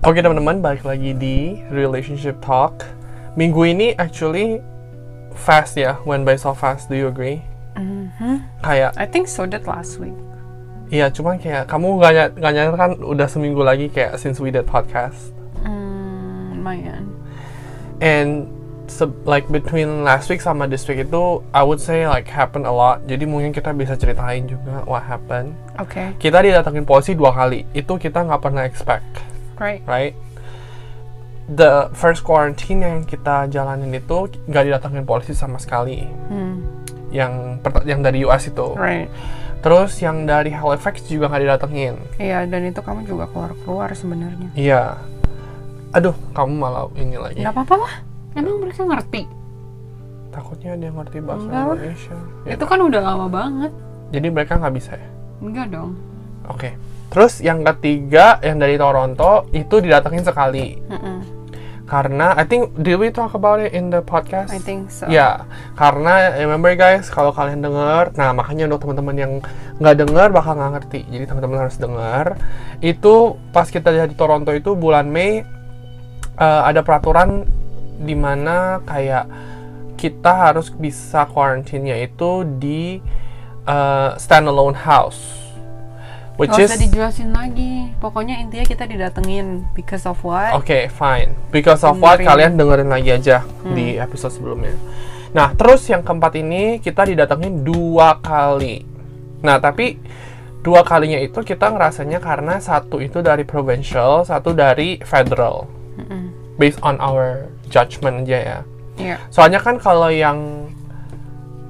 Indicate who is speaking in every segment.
Speaker 1: Oke teman-teman, balik lagi di Relationship Talk. Minggu ini actually fast ya, went by so fast. Do you agree?
Speaker 2: Uh-huh.
Speaker 1: Kayak,
Speaker 2: I think so did last week.
Speaker 1: iya cuman kayak kamu gak, ny- gak nyangka kan udah seminggu lagi kayak since we did podcast.
Speaker 2: Hmm, lumayan.
Speaker 1: And se- like between last week sama this week itu, I would say like happen a lot. Jadi mungkin kita bisa ceritain juga what happened.
Speaker 2: Okay,
Speaker 1: Kita didatengin polisi dua kali, itu kita nggak pernah expect.
Speaker 2: right.
Speaker 1: right? The first quarantine yang kita jalanin itu nggak didatangin polisi sama sekali.
Speaker 2: Hmm,
Speaker 1: Yang perta- yang dari US itu.
Speaker 2: right.
Speaker 1: Terus yang dari Halifax juga nggak didatengin.
Speaker 2: Iya, dan itu kamu juga keluar-keluar sebenarnya.
Speaker 1: Iya. Aduh, kamu malah ini lagi.
Speaker 2: Nggak apa-apa lah. Emang mereka ngerti.
Speaker 1: Takutnya dia ngerti bahasa
Speaker 2: Enggak lah.
Speaker 1: Indonesia. Ya,
Speaker 2: Itu kan udah lama banget.
Speaker 1: Jadi mereka nggak bisa ya.
Speaker 2: Enggak dong.
Speaker 1: Oke. Terus yang ketiga yang dari Toronto itu didatengin sekali
Speaker 2: Mm-mm,
Speaker 1: karena I think did we talk about it in the podcast?
Speaker 2: I think so.
Speaker 1: Ya, karena remember guys, kalau kalian dengar, nah makanya untuk teman-teman yang nggak dengar bakal nggak ngerti. Jadi teman-teman harus dengar. Itu pas kita di Toronto itu bulan Mei eh, ada peraturan di mana kayak kita harus bisa quarantine-nya itu di eh, standalone house. Which is
Speaker 2: Nggak usah dijelasin lagi. Pokoknya intinya kita didatengin because of what?
Speaker 1: Oke, fine. Because of what
Speaker 2: Dengerin.
Speaker 1: kalian dengerin lagi aja di episode sebelumnya. Nah, terus yang keempat ini kita didatengin dua kali. Nah, tapi dua kalinya itu kita ngerasanya karena satu itu dari provincial, satu dari federal. Based on our judgment aja ya.
Speaker 2: Iya.
Speaker 1: Soalnya kan kalau yang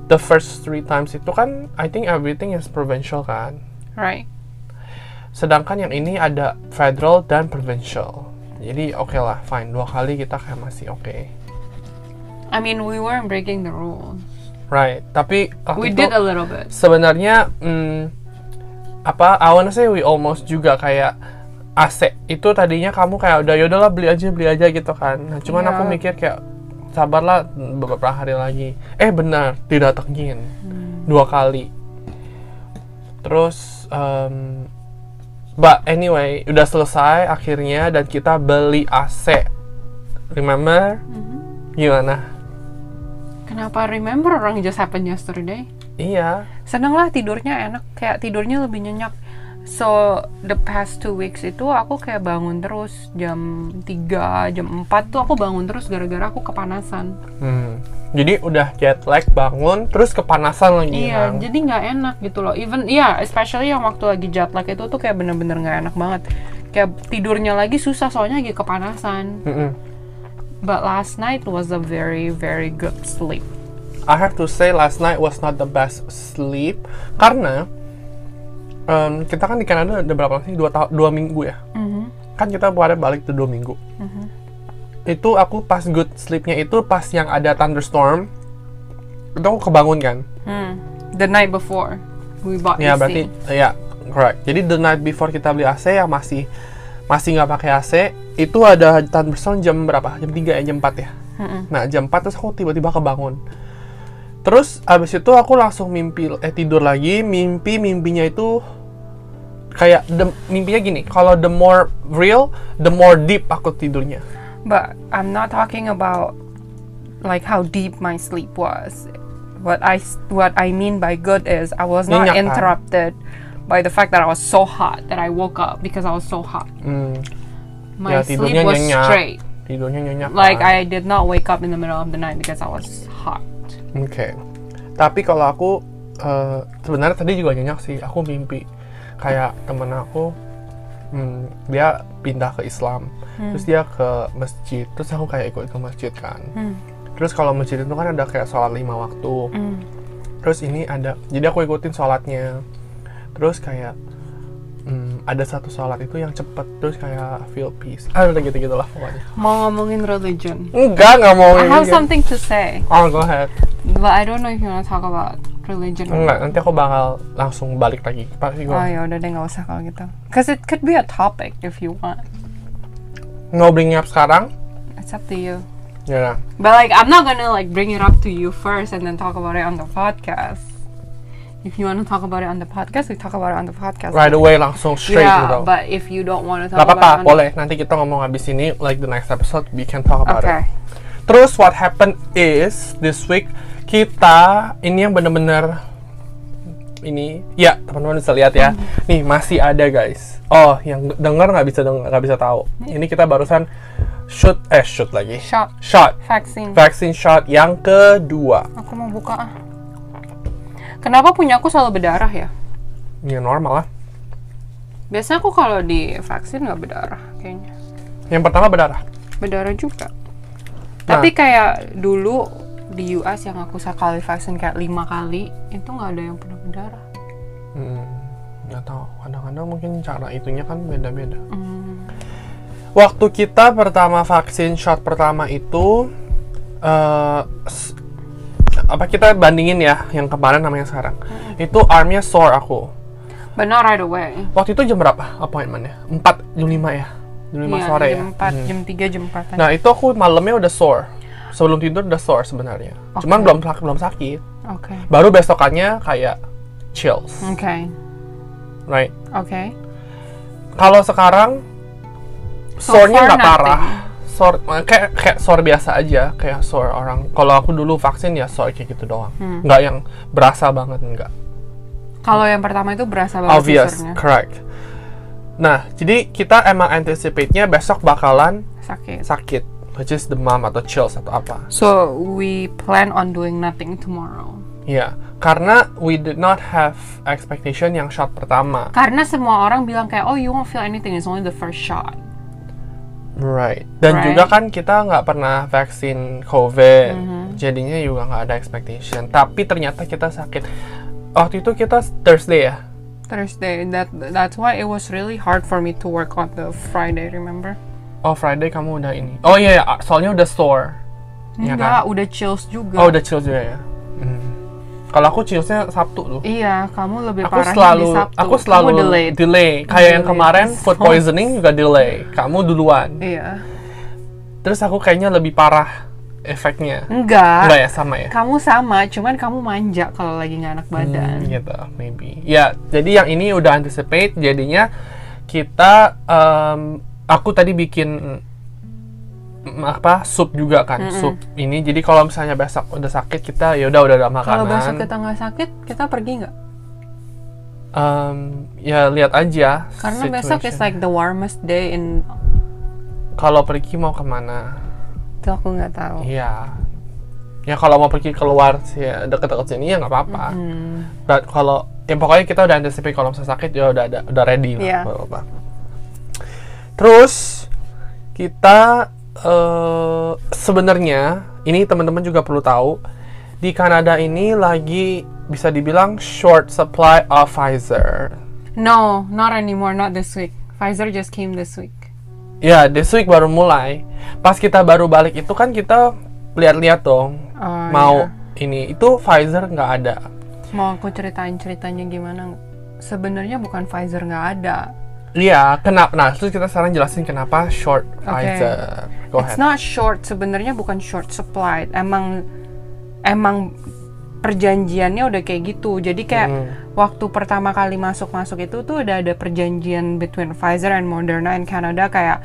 Speaker 1: the first three times itu kan I think everything is provincial kan.
Speaker 2: Right.
Speaker 1: Sedangkan yang ini ada federal dan provincial. Jadi oke lah, fine. Dua kali kita kayak masih oke.
Speaker 2: I mean, we weren't breaking the rules.
Speaker 1: Right. Tapi waktu
Speaker 2: We
Speaker 1: itu
Speaker 2: did a little bit.
Speaker 1: sebenarnya hmm, apa? I wanna say we almost juga kayak AC itu tadinya kamu kayak udah yaudahlah beli aja beli aja gitu kan. Nah, cuman
Speaker 2: Iya.
Speaker 1: aku mikir kayak sabarlah beberapa hari lagi. Eh benar, didatengin dua kali. Terus em, But anyway, udah selesai akhirnya dan kita beli AC. Remember?
Speaker 2: Mm-hmm.
Speaker 1: Gimana?
Speaker 2: Kenapa remember orang just happened yesterday?
Speaker 1: Iya.
Speaker 2: seneng lah tidurnya enak kayak tidurnya lebih nyenyak so the past two weeks itu aku kayak bangun terus jam 3, jam 4 tuh aku bangun terus gara-gara aku kepanasan
Speaker 1: Hmm. Jadi udah jet lag bangun terus kepanasan lagi. kan?
Speaker 2: iya
Speaker 1: Hang.
Speaker 2: jadi nggak enak gitu loh even ya especially yang waktu lagi jet lag itu tuh kayak bener-bener nggak enak banget kayak tidurnya lagi susah soalnya lagi kepanasan
Speaker 1: Mm-mm.
Speaker 2: but last night was a very very good sleep
Speaker 1: I have to say last night was not the best sleep karena em, kita kan di Kanada udah berapa lama sih dua tahun dua minggu ya kan kita pada balik tuh dua minggu
Speaker 2: Mm-hmm.
Speaker 1: itu aku pas good sleepnya itu pas yang ada thunderstorm itu aku kebangun kan
Speaker 2: Hmm. the night before we bought
Speaker 1: ya
Speaker 2: AC.
Speaker 1: berarti ya correct jadi the night before kita beli AC yang masih masih nggak pakai AC itu ada thunderstorm jam berapa jam 3 ya jam 4 ya nah jam 4 terus aku tiba-tiba kebangun terus abis itu aku langsung mimpi eh tidur lagi mimpi mimpinya itu kayak the- mimpinya gini kalau the more real the more deep aku tidurnya
Speaker 2: But I'm not talking about like how deep my sleep was. What I s- what I mean by good is I was
Speaker 1: Nyenyak,
Speaker 2: not
Speaker 1: kan?
Speaker 2: interrupted by the fact that I was so hot that I woke up because I was so hot.
Speaker 1: Hmm, Ya,
Speaker 2: My
Speaker 1: tidurnya
Speaker 2: sleep was
Speaker 1: nyenyak.
Speaker 2: straight.
Speaker 1: tidurnya nyenyak
Speaker 2: Like
Speaker 1: kan.
Speaker 2: I did not wake up in the middle of the night because I was hot.
Speaker 1: Oke. Tapi kalau aku eh, sebenarnya tadi juga nyenyak sih. Aku mimpi kayak temen aku hmm, dia pindah ke Islam.
Speaker 2: Hmm.
Speaker 1: Terus dia ke masjid. Terus aku kayak ikut ke masjid kan. Terus kalau masjid itu kan ada kayak sholat lima waktu. Terus ini ada jadi aku ikutin sholatnya. Terus kayak hmm, ada satu sholat itu yang cepet terus kayak feel peace. Ah udah gitu gitulah pokoknya.
Speaker 2: Mau ngomongin religion.
Speaker 1: Enggak nggak mau.
Speaker 2: I have
Speaker 1: ini.
Speaker 2: something to say,
Speaker 1: Oh go ahead.
Speaker 2: but I don't know if you want to talk about religion.
Speaker 1: Enggak, nanti aku bakal langsung balik lagi. Pasti gue
Speaker 2: Oh ya udah deh nggak usah kalau gitu. Cause it could be a topic if you want.
Speaker 1: ngobrolnya sekarang.
Speaker 2: It's up to you.
Speaker 1: Ya,
Speaker 2: But like, I'm not gonna like bring it up to you first and then talk about it on the podcast. If you want to talk about it on the podcast, we talk about it on the podcast.
Speaker 1: Right away langsung straight
Speaker 2: yeah,
Speaker 1: gitu.
Speaker 2: Ya, but if you don't want to talk
Speaker 1: Gak
Speaker 2: about it
Speaker 1: apa-apa,
Speaker 2: on
Speaker 1: boleh. Nanti kita ngomong habis ini, like the next episode, we can talk about
Speaker 2: Okay.
Speaker 1: it. Terus what happened is this week kita ini yang bener-bener ini ya teman-teman bisa lihat ya nih masih ada guys oh yang dengar nggak bisa dengar nggak bisa tahu ini kita barusan shoot eh shoot lagi
Speaker 2: Shot.
Speaker 1: shot
Speaker 2: Vaksin.
Speaker 1: vaksin shot yang kedua
Speaker 2: Aku mau buka ah. Kenapa punya aku selalu berdarah ya?
Speaker 1: ya normal lah
Speaker 2: Biasanya aku kalau di vaksin nggak berdarah kayaknya.
Speaker 1: yang pertama berdarah
Speaker 2: Berdarah juga.
Speaker 1: Nah.
Speaker 2: Tapi kayak dulu di US yang aku sekali vaksin kayak lima kali itu nggak ada yang pernah berdarah.
Speaker 1: Hmm, nggak tahu kadang-kadang mungkin cara itunya kan beda-beda
Speaker 2: Hmm.
Speaker 1: waktu kita pertama vaksin shot pertama itu eh, s- apa kita bandingin ya yang kemarin sama yang sekarang
Speaker 2: Hmm.
Speaker 1: itu armnya sore aku
Speaker 2: But not right away.
Speaker 1: waktu itu jam berapa appointmentnya 4 jam 5 ya jam 5
Speaker 2: Iya,
Speaker 1: sore ya
Speaker 2: jam 4, jam 3, jam 4
Speaker 1: nah itu aku malamnya udah sore sebelum tidur udah sore sebenarnya
Speaker 2: Oke.
Speaker 1: cuman belum sakit belum sakit
Speaker 2: Oke.
Speaker 1: baru besokannya kayak chills
Speaker 2: Oke.
Speaker 1: right
Speaker 2: Oke.
Speaker 1: kalau sekarang
Speaker 2: So
Speaker 1: sore-nya
Speaker 2: far
Speaker 1: nggak
Speaker 2: nothing.
Speaker 1: parah sore kayak kayak sore biasa aja kayak sore orang kalau aku dulu vaksin ya sore kayak gitu doang
Speaker 2: Hmm.
Speaker 1: nggak yang berasa banget nggak
Speaker 2: Kalau yang pertama Oh, itu berasa banget
Speaker 1: obvious
Speaker 2: sesernya.
Speaker 1: correct nah jadi kita emang anticipate-nya besok bakalan
Speaker 2: Sakit.
Speaker 1: sakit which is demam atau chills atau apa
Speaker 2: So we plan on doing nothing tomorrow.
Speaker 1: ya karena we did not have expectation yang shot pertama
Speaker 2: Karena semua orang bilang kayak oh you won't feel anything it's only the first shot.
Speaker 1: right dan
Speaker 2: Right.
Speaker 1: juga kan kita nggak pernah vaksin covid
Speaker 2: Mm-hmm.
Speaker 1: jadinya juga nggak ada expectation tapi ternyata kita sakit waktu itu kita Thursday ya
Speaker 2: Thursday that that's why it was really hard for me to work on the Friday remember?
Speaker 1: oh Friday kamu udah ini oh iya iya, soalnya udah sore Iya
Speaker 2: Enggak, udah chills juga.
Speaker 1: oh udah chill juga ya Hmm. kalau aku chillsnya Sabtu loh
Speaker 2: Iya, kamu lebih
Speaker 1: aku
Speaker 2: parah
Speaker 1: selalu
Speaker 2: di Sabtu.
Speaker 1: aku selalu
Speaker 2: kamu delayed.
Speaker 1: delay. kayak yang
Speaker 2: Delayed.
Speaker 1: kemarin food poisoning juga delay kamu duluan
Speaker 2: Iya.
Speaker 1: terus aku kayaknya lebih parah efeknya
Speaker 2: Enggak.
Speaker 1: enggak ya sama ya
Speaker 2: Kamu sama, cuman kamu manja kalau lagi nggak enak badan.
Speaker 1: Hmm, gitu maybe ya jadi yang ini udah anticipate jadinya kita em, aku tadi bikin mm, apa sup juga kan sup ini jadi kalau misalnya besok udah sakit kita ya udah udah ada makanan
Speaker 2: Kalau besok kita nggak sakit, kita pergi nggak?
Speaker 1: Em, ya lihat aja
Speaker 2: Karena besok ya, is
Speaker 1: situation.
Speaker 2: like the warmest day in.
Speaker 1: kalau pergi mau kemana
Speaker 2: Itu aku nggak tahu.
Speaker 1: Iya ya kalau mau pergi keluar sih ya, deket-deket sini ya nggak apa-apa
Speaker 2: Hmm.
Speaker 1: Dan kalau ya pokoknya kita udah anticipate kalau misalnya sakit ya udah ada udah ready lah
Speaker 2: Iya.
Speaker 1: nggak apa-apa. Terus kita eh, sebenarnya ini teman-teman juga perlu tahu di Kanada ini lagi bisa dibilang short supply of Pfizer.
Speaker 2: No, not anymore. Not this week. Pfizer just came this week.
Speaker 1: Ya, this week baru mulai. Pas kita baru balik itu kan kita lihat-lihat dong
Speaker 2: Oh,
Speaker 1: mau
Speaker 2: iya.
Speaker 1: ini itu Pfizer nggak ada.
Speaker 2: Mau aku ceritain ceritanya gimana? nggak? Sebenarnya bukan Pfizer nggak ada.
Speaker 1: Iya, kenapa? Nah, terus kita sekarang jelasin kenapa short
Speaker 2: Oke.
Speaker 1: Pfizer. Go ahead.
Speaker 2: It's not short. Sebenarnya bukan short supply. Emang emang perjanjiannya udah kayak gitu. Jadi kayak waktu pertama kali masuk-masuk itu tuh udah ada perjanjian between Pfizer and Moderna in Canada kayak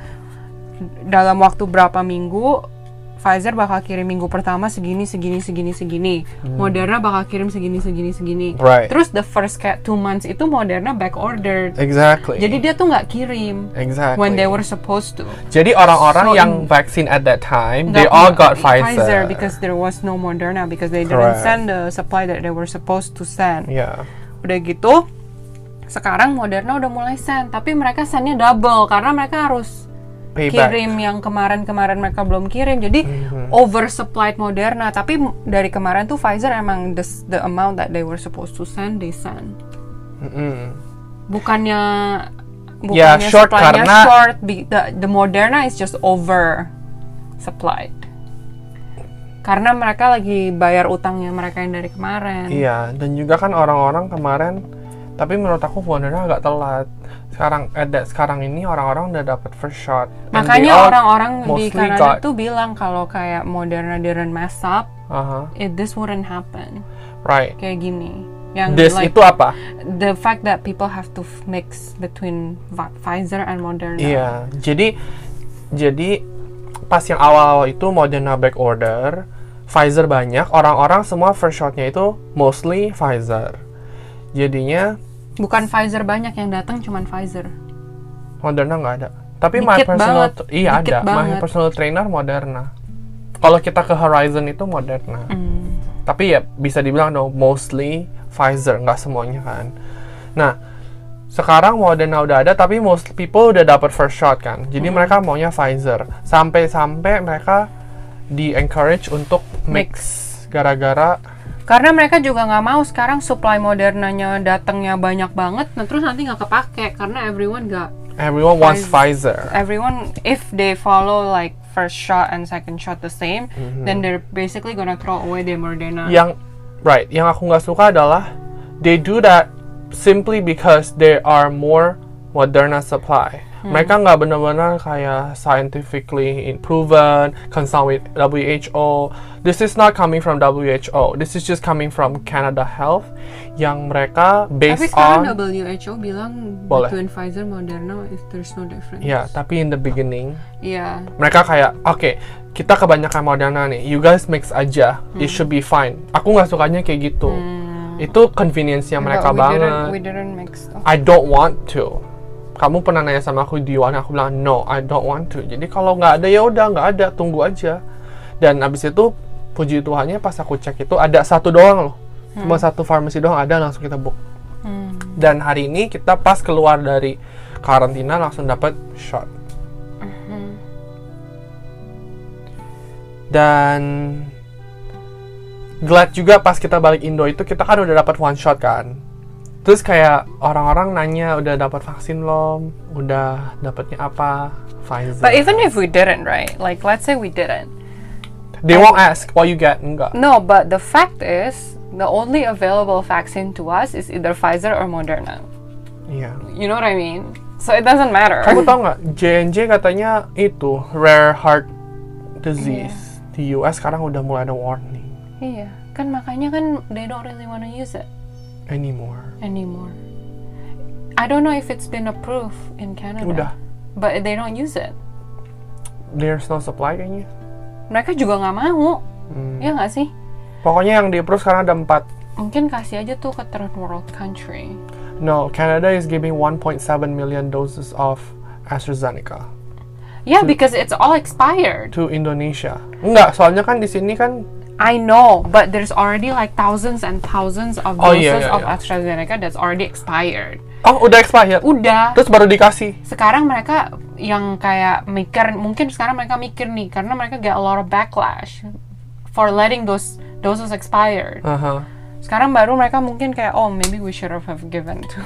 Speaker 2: dalam waktu berapa minggu Pfizer bakal kirim minggu pertama segini segini segini segini. Moderna bakal kirim segini segini segini.
Speaker 1: Mm. Right.
Speaker 2: Terus the first kayak two months itu Moderna back ordered.
Speaker 1: Exactly.
Speaker 2: Jadi dia tuh nggak kirim
Speaker 1: exactly.
Speaker 2: when they were supposed to.
Speaker 1: Jadi orang-orang
Speaker 2: So,
Speaker 1: yang
Speaker 2: in-
Speaker 1: vaksin at that time,
Speaker 2: Nggak
Speaker 1: they all
Speaker 2: punya
Speaker 1: got Pfizer.
Speaker 2: because there was no Moderna because they
Speaker 1: Correct.
Speaker 2: didn't send the supply that they were supposed to send.
Speaker 1: Yeah.
Speaker 2: Udah gitu, sekarang Moderna udah mulai send, tapi mereka sendnya double karena mereka harus
Speaker 1: Payback. Mm-hmm.
Speaker 2: kirim yang kemarin-kemarin mereka belum kirim. Jadi oversupplied Moderna, tapi m- dari kemarin tuh Pfizer emang the, s- the amount that they were supposed to send they send.
Speaker 1: Mm-mm.
Speaker 2: Bukannya
Speaker 1: Ya, short
Speaker 2: supply-nya
Speaker 1: karena-
Speaker 2: short, be- the, the Moderna is just over supplied. Karena mereka lagi bayar utangnya mereka yang dari kemarin.
Speaker 1: Iya, dan juga kan orang-orang kemarin tapi menurut aku Moderna agak telat. Sekarang eh, da- sekarang ini orang-orang udah dapat first shot. And they
Speaker 2: Makanya
Speaker 1: all
Speaker 2: orang-orang
Speaker 1: mostly
Speaker 2: di Kanada
Speaker 1: got-
Speaker 2: tuh bilang kalau kayak Moderna didn't mess up,
Speaker 1: Aha,
Speaker 2: it, this wouldn't happen.
Speaker 1: uh-huh. right.
Speaker 2: Kayak gini. yang
Speaker 1: This
Speaker 2: like
Speaker 1: itu apa?
Speaker 2: the fact that people have to f- mix between Va- Pfizer and Moderna.
Speaker 1: Iya, jadi jadi pas yang awal-awal itu Moderna back order, Pfizer banyak, orang-orang semua first shotnya itu mostly Pfizer. Jadinya
Speaker 2: Bukan Pfizer banyak yang datang, cuman Pfizer.
Speaker 1: Moderna nggak ada. Tapi my
Speaker 2: Dikit
Speaker 1: personal
Speaker 2: banget,
Speaker 1: iya ada,
Speaker 2: dikit
Speaker 1: my
Speaker 2: banget.
Speaker 1: personal trainer Moderna. Kalau kita ke Horizon itu Moderna.
Speaker 2: Hmm.
Speaker 1: Tapi ya bisa dibilang no mostly Pfizer, nggak semuanya kan. Nah, sekarang Moderna udah ada tapi most people udah dapat first shot kan. Jadi
Speaker 2: Hmm.
Speaker 1: mereka maunya Pfizer. Sampai-sampai mereka di encourage untuk mix gara-gara
Speaker 2: Karena mereka juga nggak mau sekarang supply Modernanya datangnya banyak banget, nah terus nanti nggak kepake karena everyone nggak
Speaker 1: everyone wants Pfizer.
Speaker 2: everyone if they follow like first shot and second shot the same,
Speaker 1: Mhm.
Speaker 2: then they're basically gonna throw away their Moderna.
Speaker 1: yang right yang aku nggak suka adalah they do that simply because there are more Moderna supply.
Speaker 2: Hmm.
Speaker 1: Mereka nggak benar-benar kayak scientifically proven, consult with WHO. This is not coming from WHO. This is just coming from Canada Health yang mereka
Speaker 2: Tapi
Speaker 1: based on
Speaker 2: sekarang WHO bilang
Speaker 1: Boleh.
Speaker 2: between Pfizer Moderna if there's no difference.
Speaker 1: ya tapi in the beginning
Speaker 2: Iya.
Speaker 1: mereka kayak oke kita kebanyakan Moderna nih you guys mix aja
Speaker 2: Hmm.
Speaker 1: it should be fine aku nggak sukanya kayak gitu itu convenience nya Iya, mereka
Speaker 2: But we
Speaker 1: banget
Speaker 2: Didn't, we didn't mix. Oh.
Speaker 1: I don't want to kamu pernah nanya sama aku do you want aku bilang no I don't want to jadi kalau nggak ada ya udah nggak ada tunggu aja dan abis itu puji Tuhannya pas aku cek itu ada satu doang loh cuma satu farmasi doang ada langsung kita book
Speaker 2: Hmm.
Speaker 1: dan hari ini kita pas keluar dari karantina langsung dapat shot dan glad juga pas kita balik Indo itu kita kan udah dapat one shot kan terus kayak orang-orang nanya udah dapat vaksin belum udah dapatnya apa Pfizer
Speaker 2: But even if we didn't, right? Like let's say we didn't.
Speaker 1: they won't ask what you get enggak
Speaker 2: No, but the fact is the only available vaccine to us is either Pfizer or Moderna.
Speaker 1: iya
Speaker 2: You know what I mean? So it doesn't matter.
Speaker 1: kamu tau nggak J&J katanya itu rare heart disease di US sekarang udah mulai ada warning
Speaker 2: Iya, kan makanya kan they don't really want to use it
Speaker 1: anymore
Speaker 2: anymore. I don't know if it's been approved in Canada.
Speaker 1: udah
Speaker 2: But they don't use it.
Speaker 1: there's no supply kayaknya
Speaker 2: Mereka juga nggak mau.
Speaker 1: Hmm.
Speaker 2: Iya nggak sih?
Speaker 1: pokoknya yang di approve sekarang ada empat
Speaker 2: Mungkin kasih aja tuh ke third world country.
Speaker 1: No, Canada is giving 1.7 million doses of AstraZeneca
Speaker 2: Yeah,
Speaker 1: Hmm.
Speaker 2: because it's all expired.
Speaker 1: to Indonesia. Enggak, soalnya kan di sini kan
Speaker 2: I know, but there's already like thousands and thousands of
Speaker 1: Oh,
Speaker 2: doses
Speaker 1: iya, iya,
Speaker 2: of
Speaker 1: iya.
Speaker 2: AstraZeneca that's already expired.
Speaker 1: oh udah expired.
Speaker 2: Udah.
Speaker 1: Terus baru dikasih.
Speaker 2: Sekarang mereka yang kayak mikir, mungkin sekarang mereka mikir nih karena mereka get a lot of backlash for letting those doses expired.
Speaker 1: Aha.
Speaker 2: Sekarang baru mereka mungkin kayak oh maybe we should have have given to.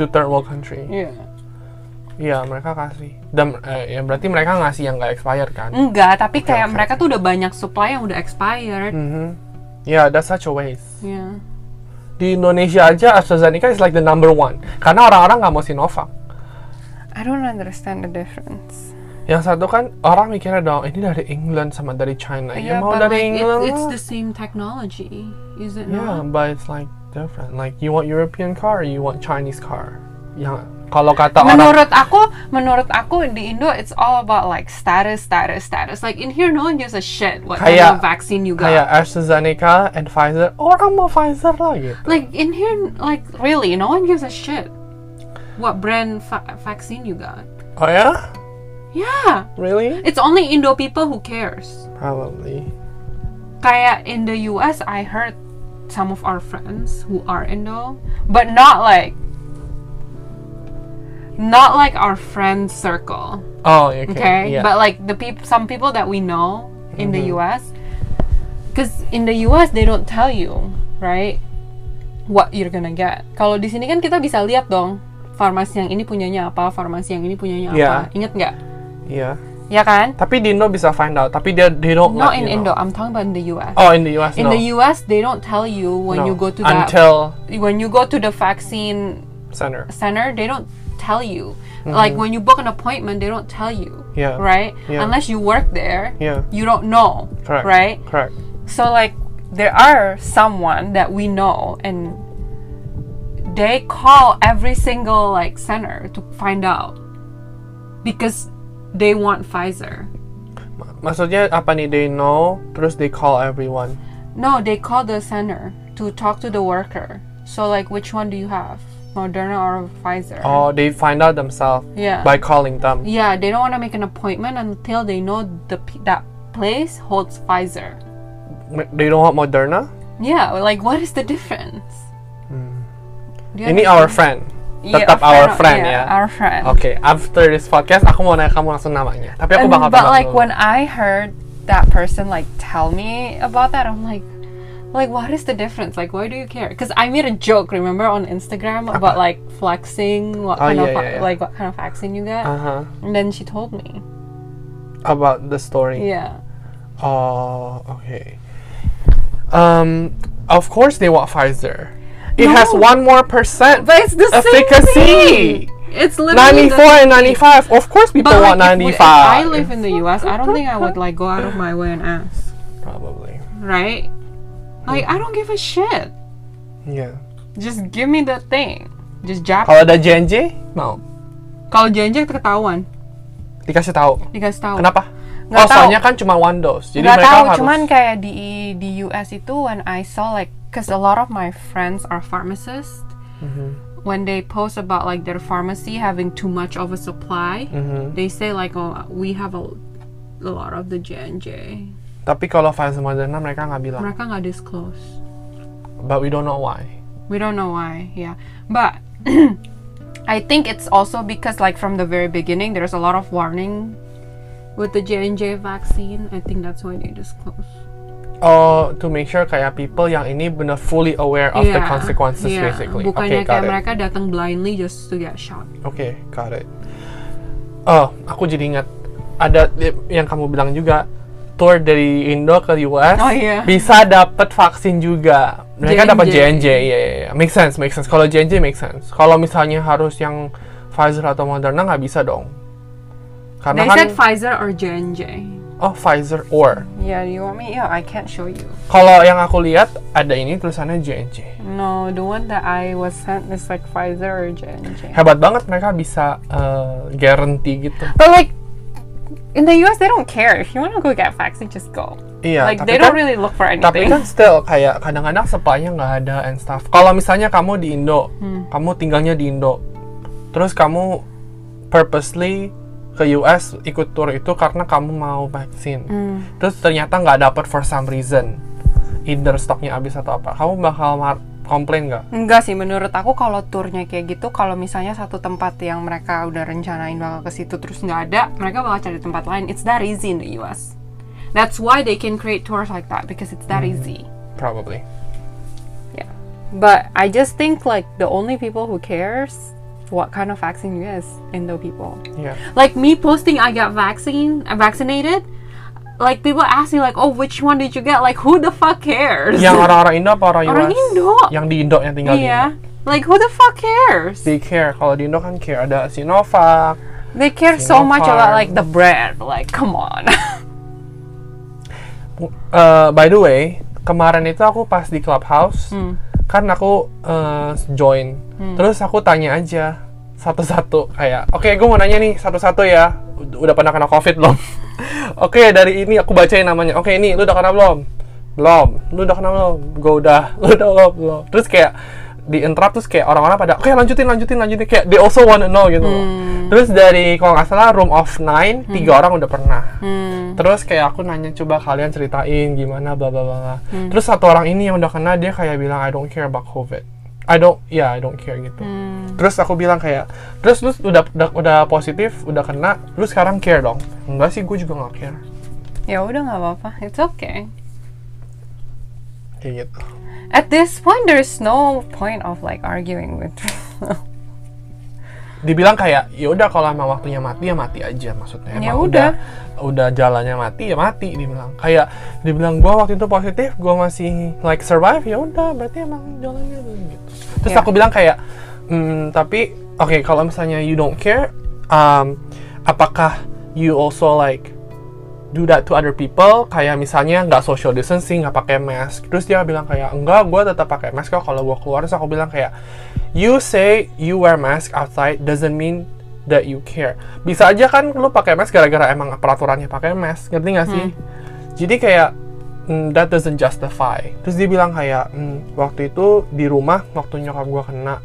Speaker 1: To third world country.
Speaker 2: Yeah.
Speaker 1: Iya, mereka kasih. Dan eh, ya berarti mereka ngasih yang nggak expired kan?
Speaker 2: Enggak, tapi
Speaker 1: oke,
Speaker 2: kayak
Speaker 1: Hmm.
Speaker 2: mereka tuh udah banyak supply yang udah expired.
Speaker 1: Ya, that's such a waste.
Speaker 2: Yeah.
Speaker 1: Di Indonesia aja AstraZeneca is like the number one. Karena orang-orang nggak mau Sinovac.
Speaker 2: I don't understand the difference.
Speaker 1: Yang satu kan orang mikirnya dong ini dari England sama dari China. Ya, mau dari England.
Speaker 2: it's,
Speaker 1: lah.
Speaker 2: the same technology, is it
Speaker 1: Yeah,
Speaker 2: not?
Speaker 1: but it's like different. Like you want European car, you want Chinese car. Yang kalau kata orang
Speaker 2: Menurut aku, menurut aku di Indo it's all about like status, status, status. Like in here no one gives a shit what kind
Speaker 1: Kayak-
Speaker 2: of vaccine you got.
Speaker 1: kayak AstraZeneca and Pfizer, orang mau Pfizer lah gitu.
Speaker 2: Like in here, like really, no one gives a shit what brand fa- vaccine you got.
Speaker 1: Oh ya?
Speaker 2: Yeah,
Speaker 1: Really?
Speaker 2: it's only Indo people who cares.
Speaker 1: Probably.
Speaker 2: kayak in the US I heard some of our friends who are Indo but not like not like our friend circle
Speaker 1: Oh, okay. Mm-hmm.
Speaker 2: okay
Speaker 1: Yeah.
Speaker 2: but like the people some people that we know in the US because in the US they don't tell you right what you're gonna get kalau di sini kan kita bisa lihat dong farmasi yang ini punyanya apa farmasi yang ini punyanya
Speaker 1: Yeah.
Speaker 2: apa inget nggak
Speaker 1: yeah.
Speaker 2: ya kan
Speaker 1: Tapi di Indo bisa find out, tapi dia they don't
Speaker 2: not
Speaker 1: let
Speaker 2: in
Speaker 1: you
Speaker 2: Indo
Speaker 1: know.
Speaker 2: I'm talking about in the US
Speaker 1: Oh, in the US
Speaker 2: in
Speaker 1: no.
Speaker 2: the US they don't tell you when
Speaker 1: No.
Speaker 2: you go to that
Speaker 1: until
Speaker 2: when you go to the vaccine
Speaker 1: center.
Speaker 2: center, they don't tell you.
Speaker 1: Mm-hmm.
Speaker 2: Like when you book an appointment, they don't tell you.
Speaker 1: Yeah.
Speaker 2: Right?
Speaker 1: Yeah.
Speaker 2: Unless you work there,
Speaker 1: Yeah.
Speaker 2: you don't know.
Speaker 1: Correct.
Speaker 2: Right?
Speaker 1: Correct.
Speaker 2: So like there are someone that we know and they call every single like center to find out because they want Pfizer.
Speaker 1: Maksudnya apa nih? They know, terus they call everyone.
Speaker 2: No, they call the center to talk to the worker. So like, which one do you have, Moderna or Pfizer?
Speaker 1: Oh, they find out themselves
Speaker 2: yeah.
Speaker 1: by calling them.
Speaker 2: yeah, they don't want to make an appointment until they know the p- that place holds Pfizer.
Speaker 1: They don't want Moderna.
Speaker 2: Yeah, like what is the difference? Do you
Speaker 1: Ini
Speaker 2: understand?
Speaker 1: our friend.
Speaker 2: Yeah,
Speaker 1: Tetap our friend
Speaker 2: yeah,
Speaker 1: ya.
Speaker 2: Our friend.
Speaker 1: Oke, after this podcast aku mau nanya kamu langsung namanya. Tapi aku
Speaker 2: And-
Speaker 1: bakal
Speaker 2: Um, but
Speaker 1: tebak
Speaker 2: like
Speaker 1: dulu.
Speaker 2: when I heard that person like tell me about that, I'm like, like what is the difference? Like why do you care? Because I made a joke, remember on Instagram about like flexing, what
Speaker 1: Oh,
Speaker 2: kind of
Speaker 1: yeah,
Speaker 2: va-
Speaker 1: yeah, Uh. yeah.
Speaker 2: like what kind of vaccine you get,
Speaker 1: Aha.
Speaker 2: and then she told me,
Speaker 1: Uh-huh. about the story.
Speaker 2: yeah,
Speaker 1: Oh, okay. Um, of course they want Pfizer. It has
Speaker 2: No.
Speaker 1: one more percent
Speaker 2: but it's the
Speaker 1: efficacy.
Speaker 2: same thing. It's literally the
Speaker 1: 94 and
Speaker 2: same thing.
Speaker 1: 95. Of course people
Speaker 2: But
Speaker 1: want
Speaker 2: like, if we-
Speaker 1: 95.
Speaker 2: if I live in the U.S. I don't think I would like go out of my way and ask,
Speaker 1: Probably.
Speaker 2: right? Like I don't give a shit.
Speaker 1: Yeah.
Speaker 2: Just give me the thing. Just jab.
Speaker 1: Kalau ada JNJ, mau
Speaker 2: Kalau janji ketahuan,
Speaker 1: dikasih tahu.
Speaker 2: dikasih tahu.
Speaker 1: Kenapa? oh,
Speaker 2: Nggak tahu.
Speaker 1: soalnya kan cuma one dose. Jadi
Speaker 2: Nggak
Speaker 1: mereka
Speaker 2: tahu,
Speaker 1: harus
Speaker 2: cuman kayak di di US itu when I saw like, cause a lot of my friends are pharmacists.
Speaker 1: Mm-hmm.
Speaker 2: When they post about like their pharmacy having too much of a supply,
Speaker 1: Mm-hmm.
Speaker 2: they say like, oh, we have a, a lot of the J and J.
Speaker 1: Tapi kalau Pfizer Moderna mereka nggak bilang.
Speaker 2: Mereka nggak disclose.
Speaker 1: But we don't know why.
Speaker 2: We don't know why, yeah. But I think it's also because like from the very beginning there's a lot of warning with the J&J vaccine. I think that's why they disclose.
Speaker 1: Oh, to make sure kayak people yang ini bener fully aware of the
Speaker 2: Yeah,
Speaker 1: consequences
Speaker 2: yeah.
Speaker 1: basically.
Speaker 2: Iya, Bukannya
Speaker 1: okay,
Speaker 2: kayak
Speaker 1: got it.
Speaker 2: mereka datang blindly just to get shot.
Speaker 1: Oke, got it. Oh, aku jadi ingat ada di- yang kamu bilang juga tour dari Indo ke US
Speaker 2: Oh, iya.
Speaker 1: bisa dapat vaksin juga. Mereka dapat
Speaker 2: J&J.
Speaker 1: JNJ, ya, ya, ya. Make sense, make sense. Kalau JNJ make sense. Kalau misalnya harus yang Pfizer atau Moderna nggak bisa dong. Karena
Speaker 2: They
Speaker 1: kan
Speaker 2: said Pfizer or J&J.
Speaker 1: oh Pfizer or.
Speaker 2: Yeah, you want me? Yeah, I can't show you.
Speaker 1: Kalau yang aku lihat ada ini tulisannya JNJ.
Speaker 2: No, the one that I was sent is like Pfizer or J&J.
Speaker 1: Hebat banget mereka bisa eh, guarantee gitu.
Speaker 2: But like in the US they don't care. If you want to go get vaccine, just go.
Speaker 1: Iya,
Speaker 2: like
Speaker 1: tapi
Speaker 2: they don't
Speaker 1: kan-
Speaker 2: really look for anything.
Speaker 1: Tapi kan still kayak kadang-kadang supply-nya nggak ada and stuff. Kalau misalnya kamu di Indo, kamu tinggalnya di Indo, terus kamu purposely ke US ikut tour itu karena kamu mau vaksin. Terus ternyata nggak dapet for some reason, either stoknya habis atau apa, kamu bakal mar- komplain nggak?
Speaker 2: Enggak sih, menurut aku kalau turnya kayak gitu, kalau misalnya satu tempat yang mereka udah rencanain bakal ke situ terus nggak ada, mereka bakal cari tempat lain. It's that easy in the US. That's why they can create tours like that because it's that easy.
Speaker 1: Probably.
Speaker 2: Yeah. But I just think like the only people who cares what kind of vaccine you get is Indo people.
Speaker 1: Yeah.
Speaker 2: Like me posting I got vaccine, I vaccinated. Like people ask me like, oh which one did you get? Like who the fuck cares?
Speaker 1: Yang orang-orang Indo apa orang US?
Speaker 2: Orang Indo. Iya.
Speaker 1: Yang di Indo yang tinggal di Indo.
Speaker 2: Yeah. Like who the fuck cares?
Speaker 1: They care. Kalau di Indo kan care ada Sinovac.
Speaker 2: They care so much about
Speaker 1: Sinopharm.
Speaker 2: like the brand. Like, come on.
Speaker 1: Uh, by the way, kemarin itu aku pas di clubhouse, kan aku uh, join, terus aku tanya aja satu-satu kayak, oke gue mau nanya nih satu-satu ya, Ud- udah pernah kena covid belum? oke dari ini aku bacain namanya, oke ini lu udah kena belum? Belum, lu udah kena belum? Gue udah, lu udah belum? Belum. Terus kayak di interrupt terus kayak orang-orang pada oke lanjutin lanjutin lanjutin kayak they also wanna know gitu loh. terus dari kalau nggak salah room of nine tiga orang udah pernah terus kayak aku nanya coba kalian ceritain gimana bla bla bla bla." terus satu orang ini yang udah kena dia kayak bilang I don't care about covid I don't ya I don't care gitu
Speaker 2: Hmm.
Speaker 1: terus aku bilang kayak terus lu udah udah, udah positif udah kena lu sekarang care dong enggak sih gue juga nggak care
Speaker 2: ya udah nggak apa-apa. It's okay.
Speaker 1: kayak gitu
Speaker 2: At this point, there's no point of like arguing with.
Speaker 1: dibilang kayak ya udah kalau emang waktunya mati ya mati aja maksudnya
Speaker 2: Ya
Speaker 1: emang udah udah jalannya mati ya mati dibilang kayak dibilang gua waktu itu positif gua masih like survive ya udah berarti emang jalannya gitu terus
Speaker 2: Ya.
Speaker 1: aku bilang kayak "Hmm, tapi oke kalau misalnya you don't care um, apakah you also like do that to other people kayak misalnya nggak social distancing nggak pakai mask terus dia bilang kayak enggak gue tetap pakai mask kok kalau gue keluar terus aku bilang kayak you say you wear mask outside doesn't mean that you care. Bisa aja kan lu pakai mask gara-gara emang peraturannya pakai mask, ngerti nggak sih? Jadi kayak mm, that doesn't justify. Terus dia bilang kayak mm, waktu itu di rumah waktu nyokap gua kena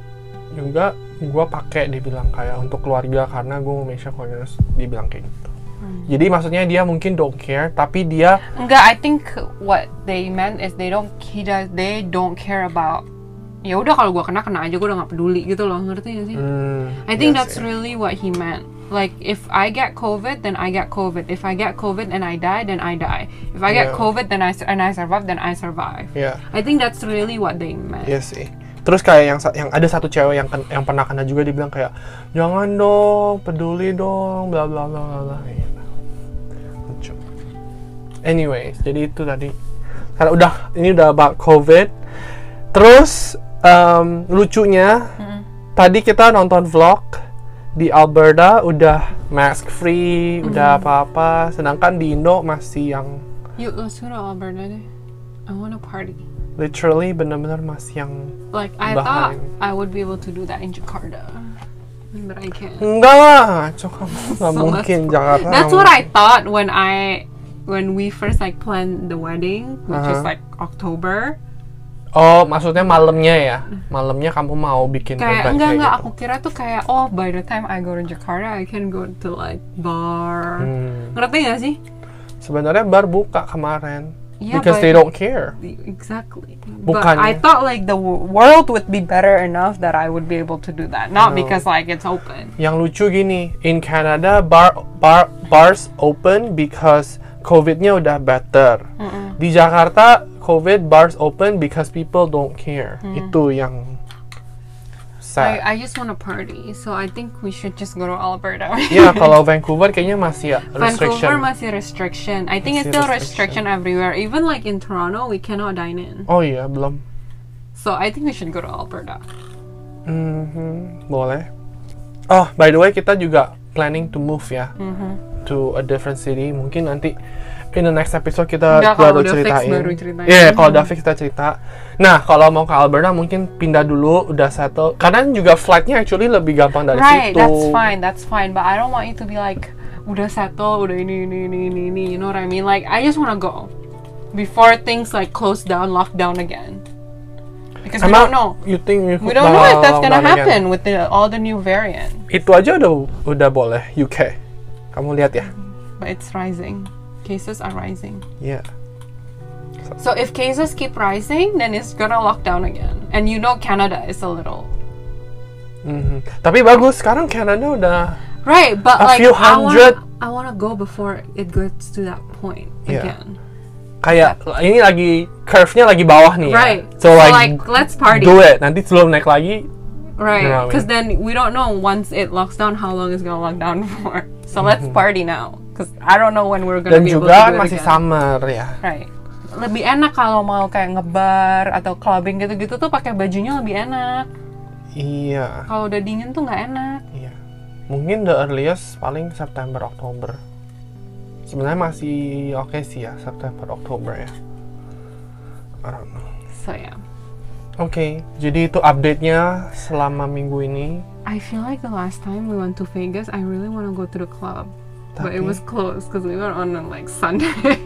Speaker 1: juga gua pakai dia bilang kayak untuk keluarga karena gua mau make sure keluarga terus dia bilang kayak gitu.
Speaker 2: Hmm.
Speaker 1: Jadi maksudnya dia mungkin don't care tapi dia
Speaker 2: Enggak, I think what they meant is they don't he does, they don't care about ya udah kalau gua kena kena aja gua udah nggak peduli gitu loh ngerti gak sih?
Speaker 1: mm,
Speaker 2: I think
Speaker 1: iya
Speaker 2: that's
Speaker 1: sih.
Speaker 2: really what he meant. Like if I get COVID, then I get COVID. If I get COVID and I die, then I die. If I get
Speaker 1: Yeah.
Speaker 2: COVID, then I su- and I survive, then I survive.
Speaker 1: Iya.
Speaker 2: I think that's really what they meant.
Speaker 1: Iya sih. Terus kayak yang sa- yang ada satu cewek yang ken- yang pernah kena juga dibilang kayak jangan dong, peduli dong, bla bla bla bla bla. Gitu. Lucu. Anyways, jadi itu tadi. Karena udah ini udah about COVID. Terus em, lucunya tadi kita nonton vlog di Alberta udah mask free, udah apa-apa, sedangkan di Indo masih yang
Speaker 2: You uh, let's go to Alberta. deh. I want to party.
Speaker 1: literally bener-bener masih yang
Speaker 2: Like
Speaker 1: Bahrain.
Speaker 2: I thought I would be able to do that in Jakarta, but I can't.
Speaker 1: Enggak lah, ngaco kamu nggak mungkin Jakarta.
Speaker 2: That's
Speaker 1: nggak
Speaker 2: what I thought when I when we first like planned the wedding, which is
Speaker 1: Uh-huh.
Speaker 2: like October.
Speaker 1: mungkin. Oh, maksudnya malamnya ya? Malamnya kamu mau bikin event
Speaker 2: Kayak enggak enggak
Speaker 1: gitu.
Speaker 2: aku kira tuh kayak oh by the time I go to Jakarta I can go to like bar.
Speaker 1: Hmm,
Speaker 2: Ngerti gak sih?
Speaker 1: Sebenarnya bar buka kemarin.
Speaker 2: Iya,
Speaker 1: because
Speaker 2: but-
Speaker 1: they don't care.
Speaker 2: Exactly. But
Speaker 1: Bukannya.
Speaker 2: I thought like the wo- world would be better enough that I would be able to do that. Not
Speaker 1: No.
Speaker 2: because like it's open.
Speaker 1: Yang lucu gini, in Canada bar bar bars open because COVID-nya udah better. Di Jakarta COVID bars open because people don't care.
Speaker 2: Hmm.
Speaker 1: Itu yang sad.
Speaker 2: I, I just want to party, so I think we should just go to Alberta.
Speaker 1: Ya, kalau Vancouver kayaknya masih ya, restriction.
Speaker 2: Vancouver masih restriction. I think
Speaker 1: Masih
Speaker 2: it's still
Speaker 1: restriction.
Speaker 2: restriction. everywhere. Even like in Toronto, we cannot dine in.
Speaker 1: Oh iya, belum.
Speaker 2: So I think we should go to Alberta. Mm-hmm.
Speaker 1: Mhm, boleh. Oh, by the way, kita juga planning to move ya
Speaker 2: Mm-hmm.
Speaker 1: to a different city. Mungkin nanti in the next episode kita
Speaker 2: Nggak, kalau
Speaker 1: baru
Speaker 2: udah fix,
Speaker 1: ceritain.
Speaker 2: baru ceritain. Mm-hmm.
Speaker 1: Iya, kalau udah fix kita cerita. Nah, kalau mau ke Alberta mungkin pindah dulu, udah settle. Karena juga flightnya actually lebih gampang dari
Speaker 2: Right,
Speaker 1: situ.
Speaker 2: that's fine, that's fine. But I don't want you to be like, udah settle, udah ini, ini, ini, ini, ini. You know what I mean? Like, I just want to go before things like close down, lock down again. Because we
Speaker 1: Emang
Speaker 2: don't know.
Speaker 1: you think you
Speaker 2: We
Speaker 1: could
Speaker 2: don't know if
Speaker 1: bakal
Speaker 2: that's gonna
Speaker 1: lockdown again?
Speaker 2: happen with the, all the new variant.
Speaker 1: Itu aja udah udah boleh UK. Kamu lihat ya.
Speaker 2: But it's rising. Cases are rising.
Speaker 1: Iya.
Speaker 2: So if cases keep rising, then it's gonna lock down again. And you know Canada is a little
Speaker 1: Mhm. Tapi bagus sekarang Canada udah
Speaker 2: Right, but
Speaker 1: A
Speaker 2: like
Speaker 1: few hundred.
Speaker 2: I want I want to go before it gets to that point
Speaker 1: Yeah.
Speaker 2: again.
Speaker 1: kayak ini lagi curve-nya lagi bawah nih. ya.
Speaker 2: Right.
Speaker 1: So, like,
Speaker 2: let's party.
Speaker 1: do it. Nanti sebelum naik lagi, You know
Speaker 2: Right.
Speaker 1: what I
Speaker 2: Cuz then we don't know once it locks down how long it's going to lock down for. So let's party now cuz I don't know when we're going
Speaker 1: dan
Speaker 2: to be able
Speaker 1: juga
Speaker 2: to do it
Speaker 1: Mm-hmm. masih
Speaker 2: again.
Speaker 1: summer ya.
Speaker 2: Right. Lebih enak kalau mau kayak ngebar atau clubbing gitu-gitu tuh pakai bajunya lebih enak.
Speaker 1: Iya,
Speaker 2: Kalau udah dingin tuh nggak enak.
Speaker 1: iya. Mungkin the earliest paling September Oktober. Sebenarnya masih oke sih ya September Oktober ya. I don't know.
Speaker 2: So yeah.
Speaker 1: Oke, jadi itu update-nya selama minggu ini.
Speaker 2: I feel like the last time we went to Vegas, I really want to go to the club. But
Speaker 1: Tapi-
Speaker 2: it was closed because we were on a, like Sunday.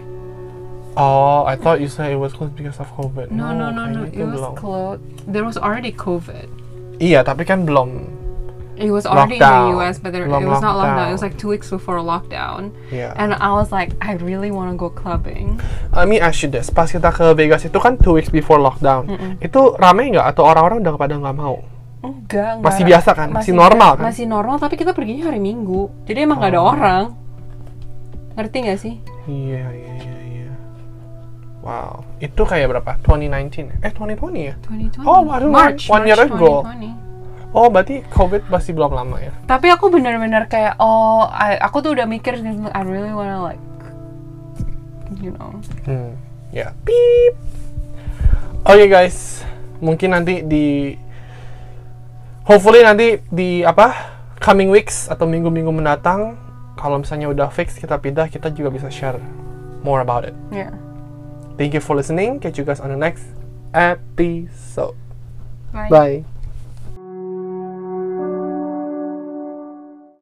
Speaker 1: Oh, I thought you said it was closed because of COVID.
Speaker 2: no, no, no, no.
Speaker 1: kayaknya itu
Speaker 2: It was
Speaker 1: belum.
Speaker 2: closed. There was already COVID.
Speaker 1: Iya, tapi kan belum.
Speaker 2: It was already in
Speaker 1: Lockdown.
Speaker 2: the US, but there,
Speaker 1: Long
Speaker 2: it was not lockdown. It was
Speaker 1: lockdown.
Speaker 2: like two weeks before lockdown.
Speaker 1: Iya.
Speaker 2: And I was like, I really want to go clubbing.
Speaker 1: I mean, I should this. Pas kita ke Vegas itu kan two weeks before lockdown. Itu rame nggak atau orang-orang udah pada nggak mau?
Speaker 2: Enggak, enggak.
Speaker 1: Masih biasa kan? Masih normal kan? Oh.
Speaker 2: Masih normal, tapi kita perginya hari Minggu. Jadi emang nggak ada orang. Ngerti nggak sih?
Speaker 1: Iya, iya, iya, iya. Wow, itu kayak berapa? 2019? Eh, 2020 ya?
Speaker 2: 2020.
Speaker 1: Oh, baru
Speaker 2: March,
Speaker 1: one
Speaker 2: March
Speaker 1: year ago.
Speaker 2: 2020.
Speaker 1: Oh, berarti COVID masih belum lama ya?
Speaker 2: tapi aku bener-bener kayak oh I- aku tuh udah mikir gitu, I really wanna like you know
Speaker 1: Hmm, ya. Pip. Oke guys, mungkin nanti di hopefully nanti di apa coming weeks atau minggu-minggu mendatang kalau misalnya udah fix kita pindah kita juga bisa share more about it.
Speaker 2: yeah
Speaker 1: Thank you for listening. Catch you guys on the next episode.
Speaker 2: Bye.
Speaker 1: Bye.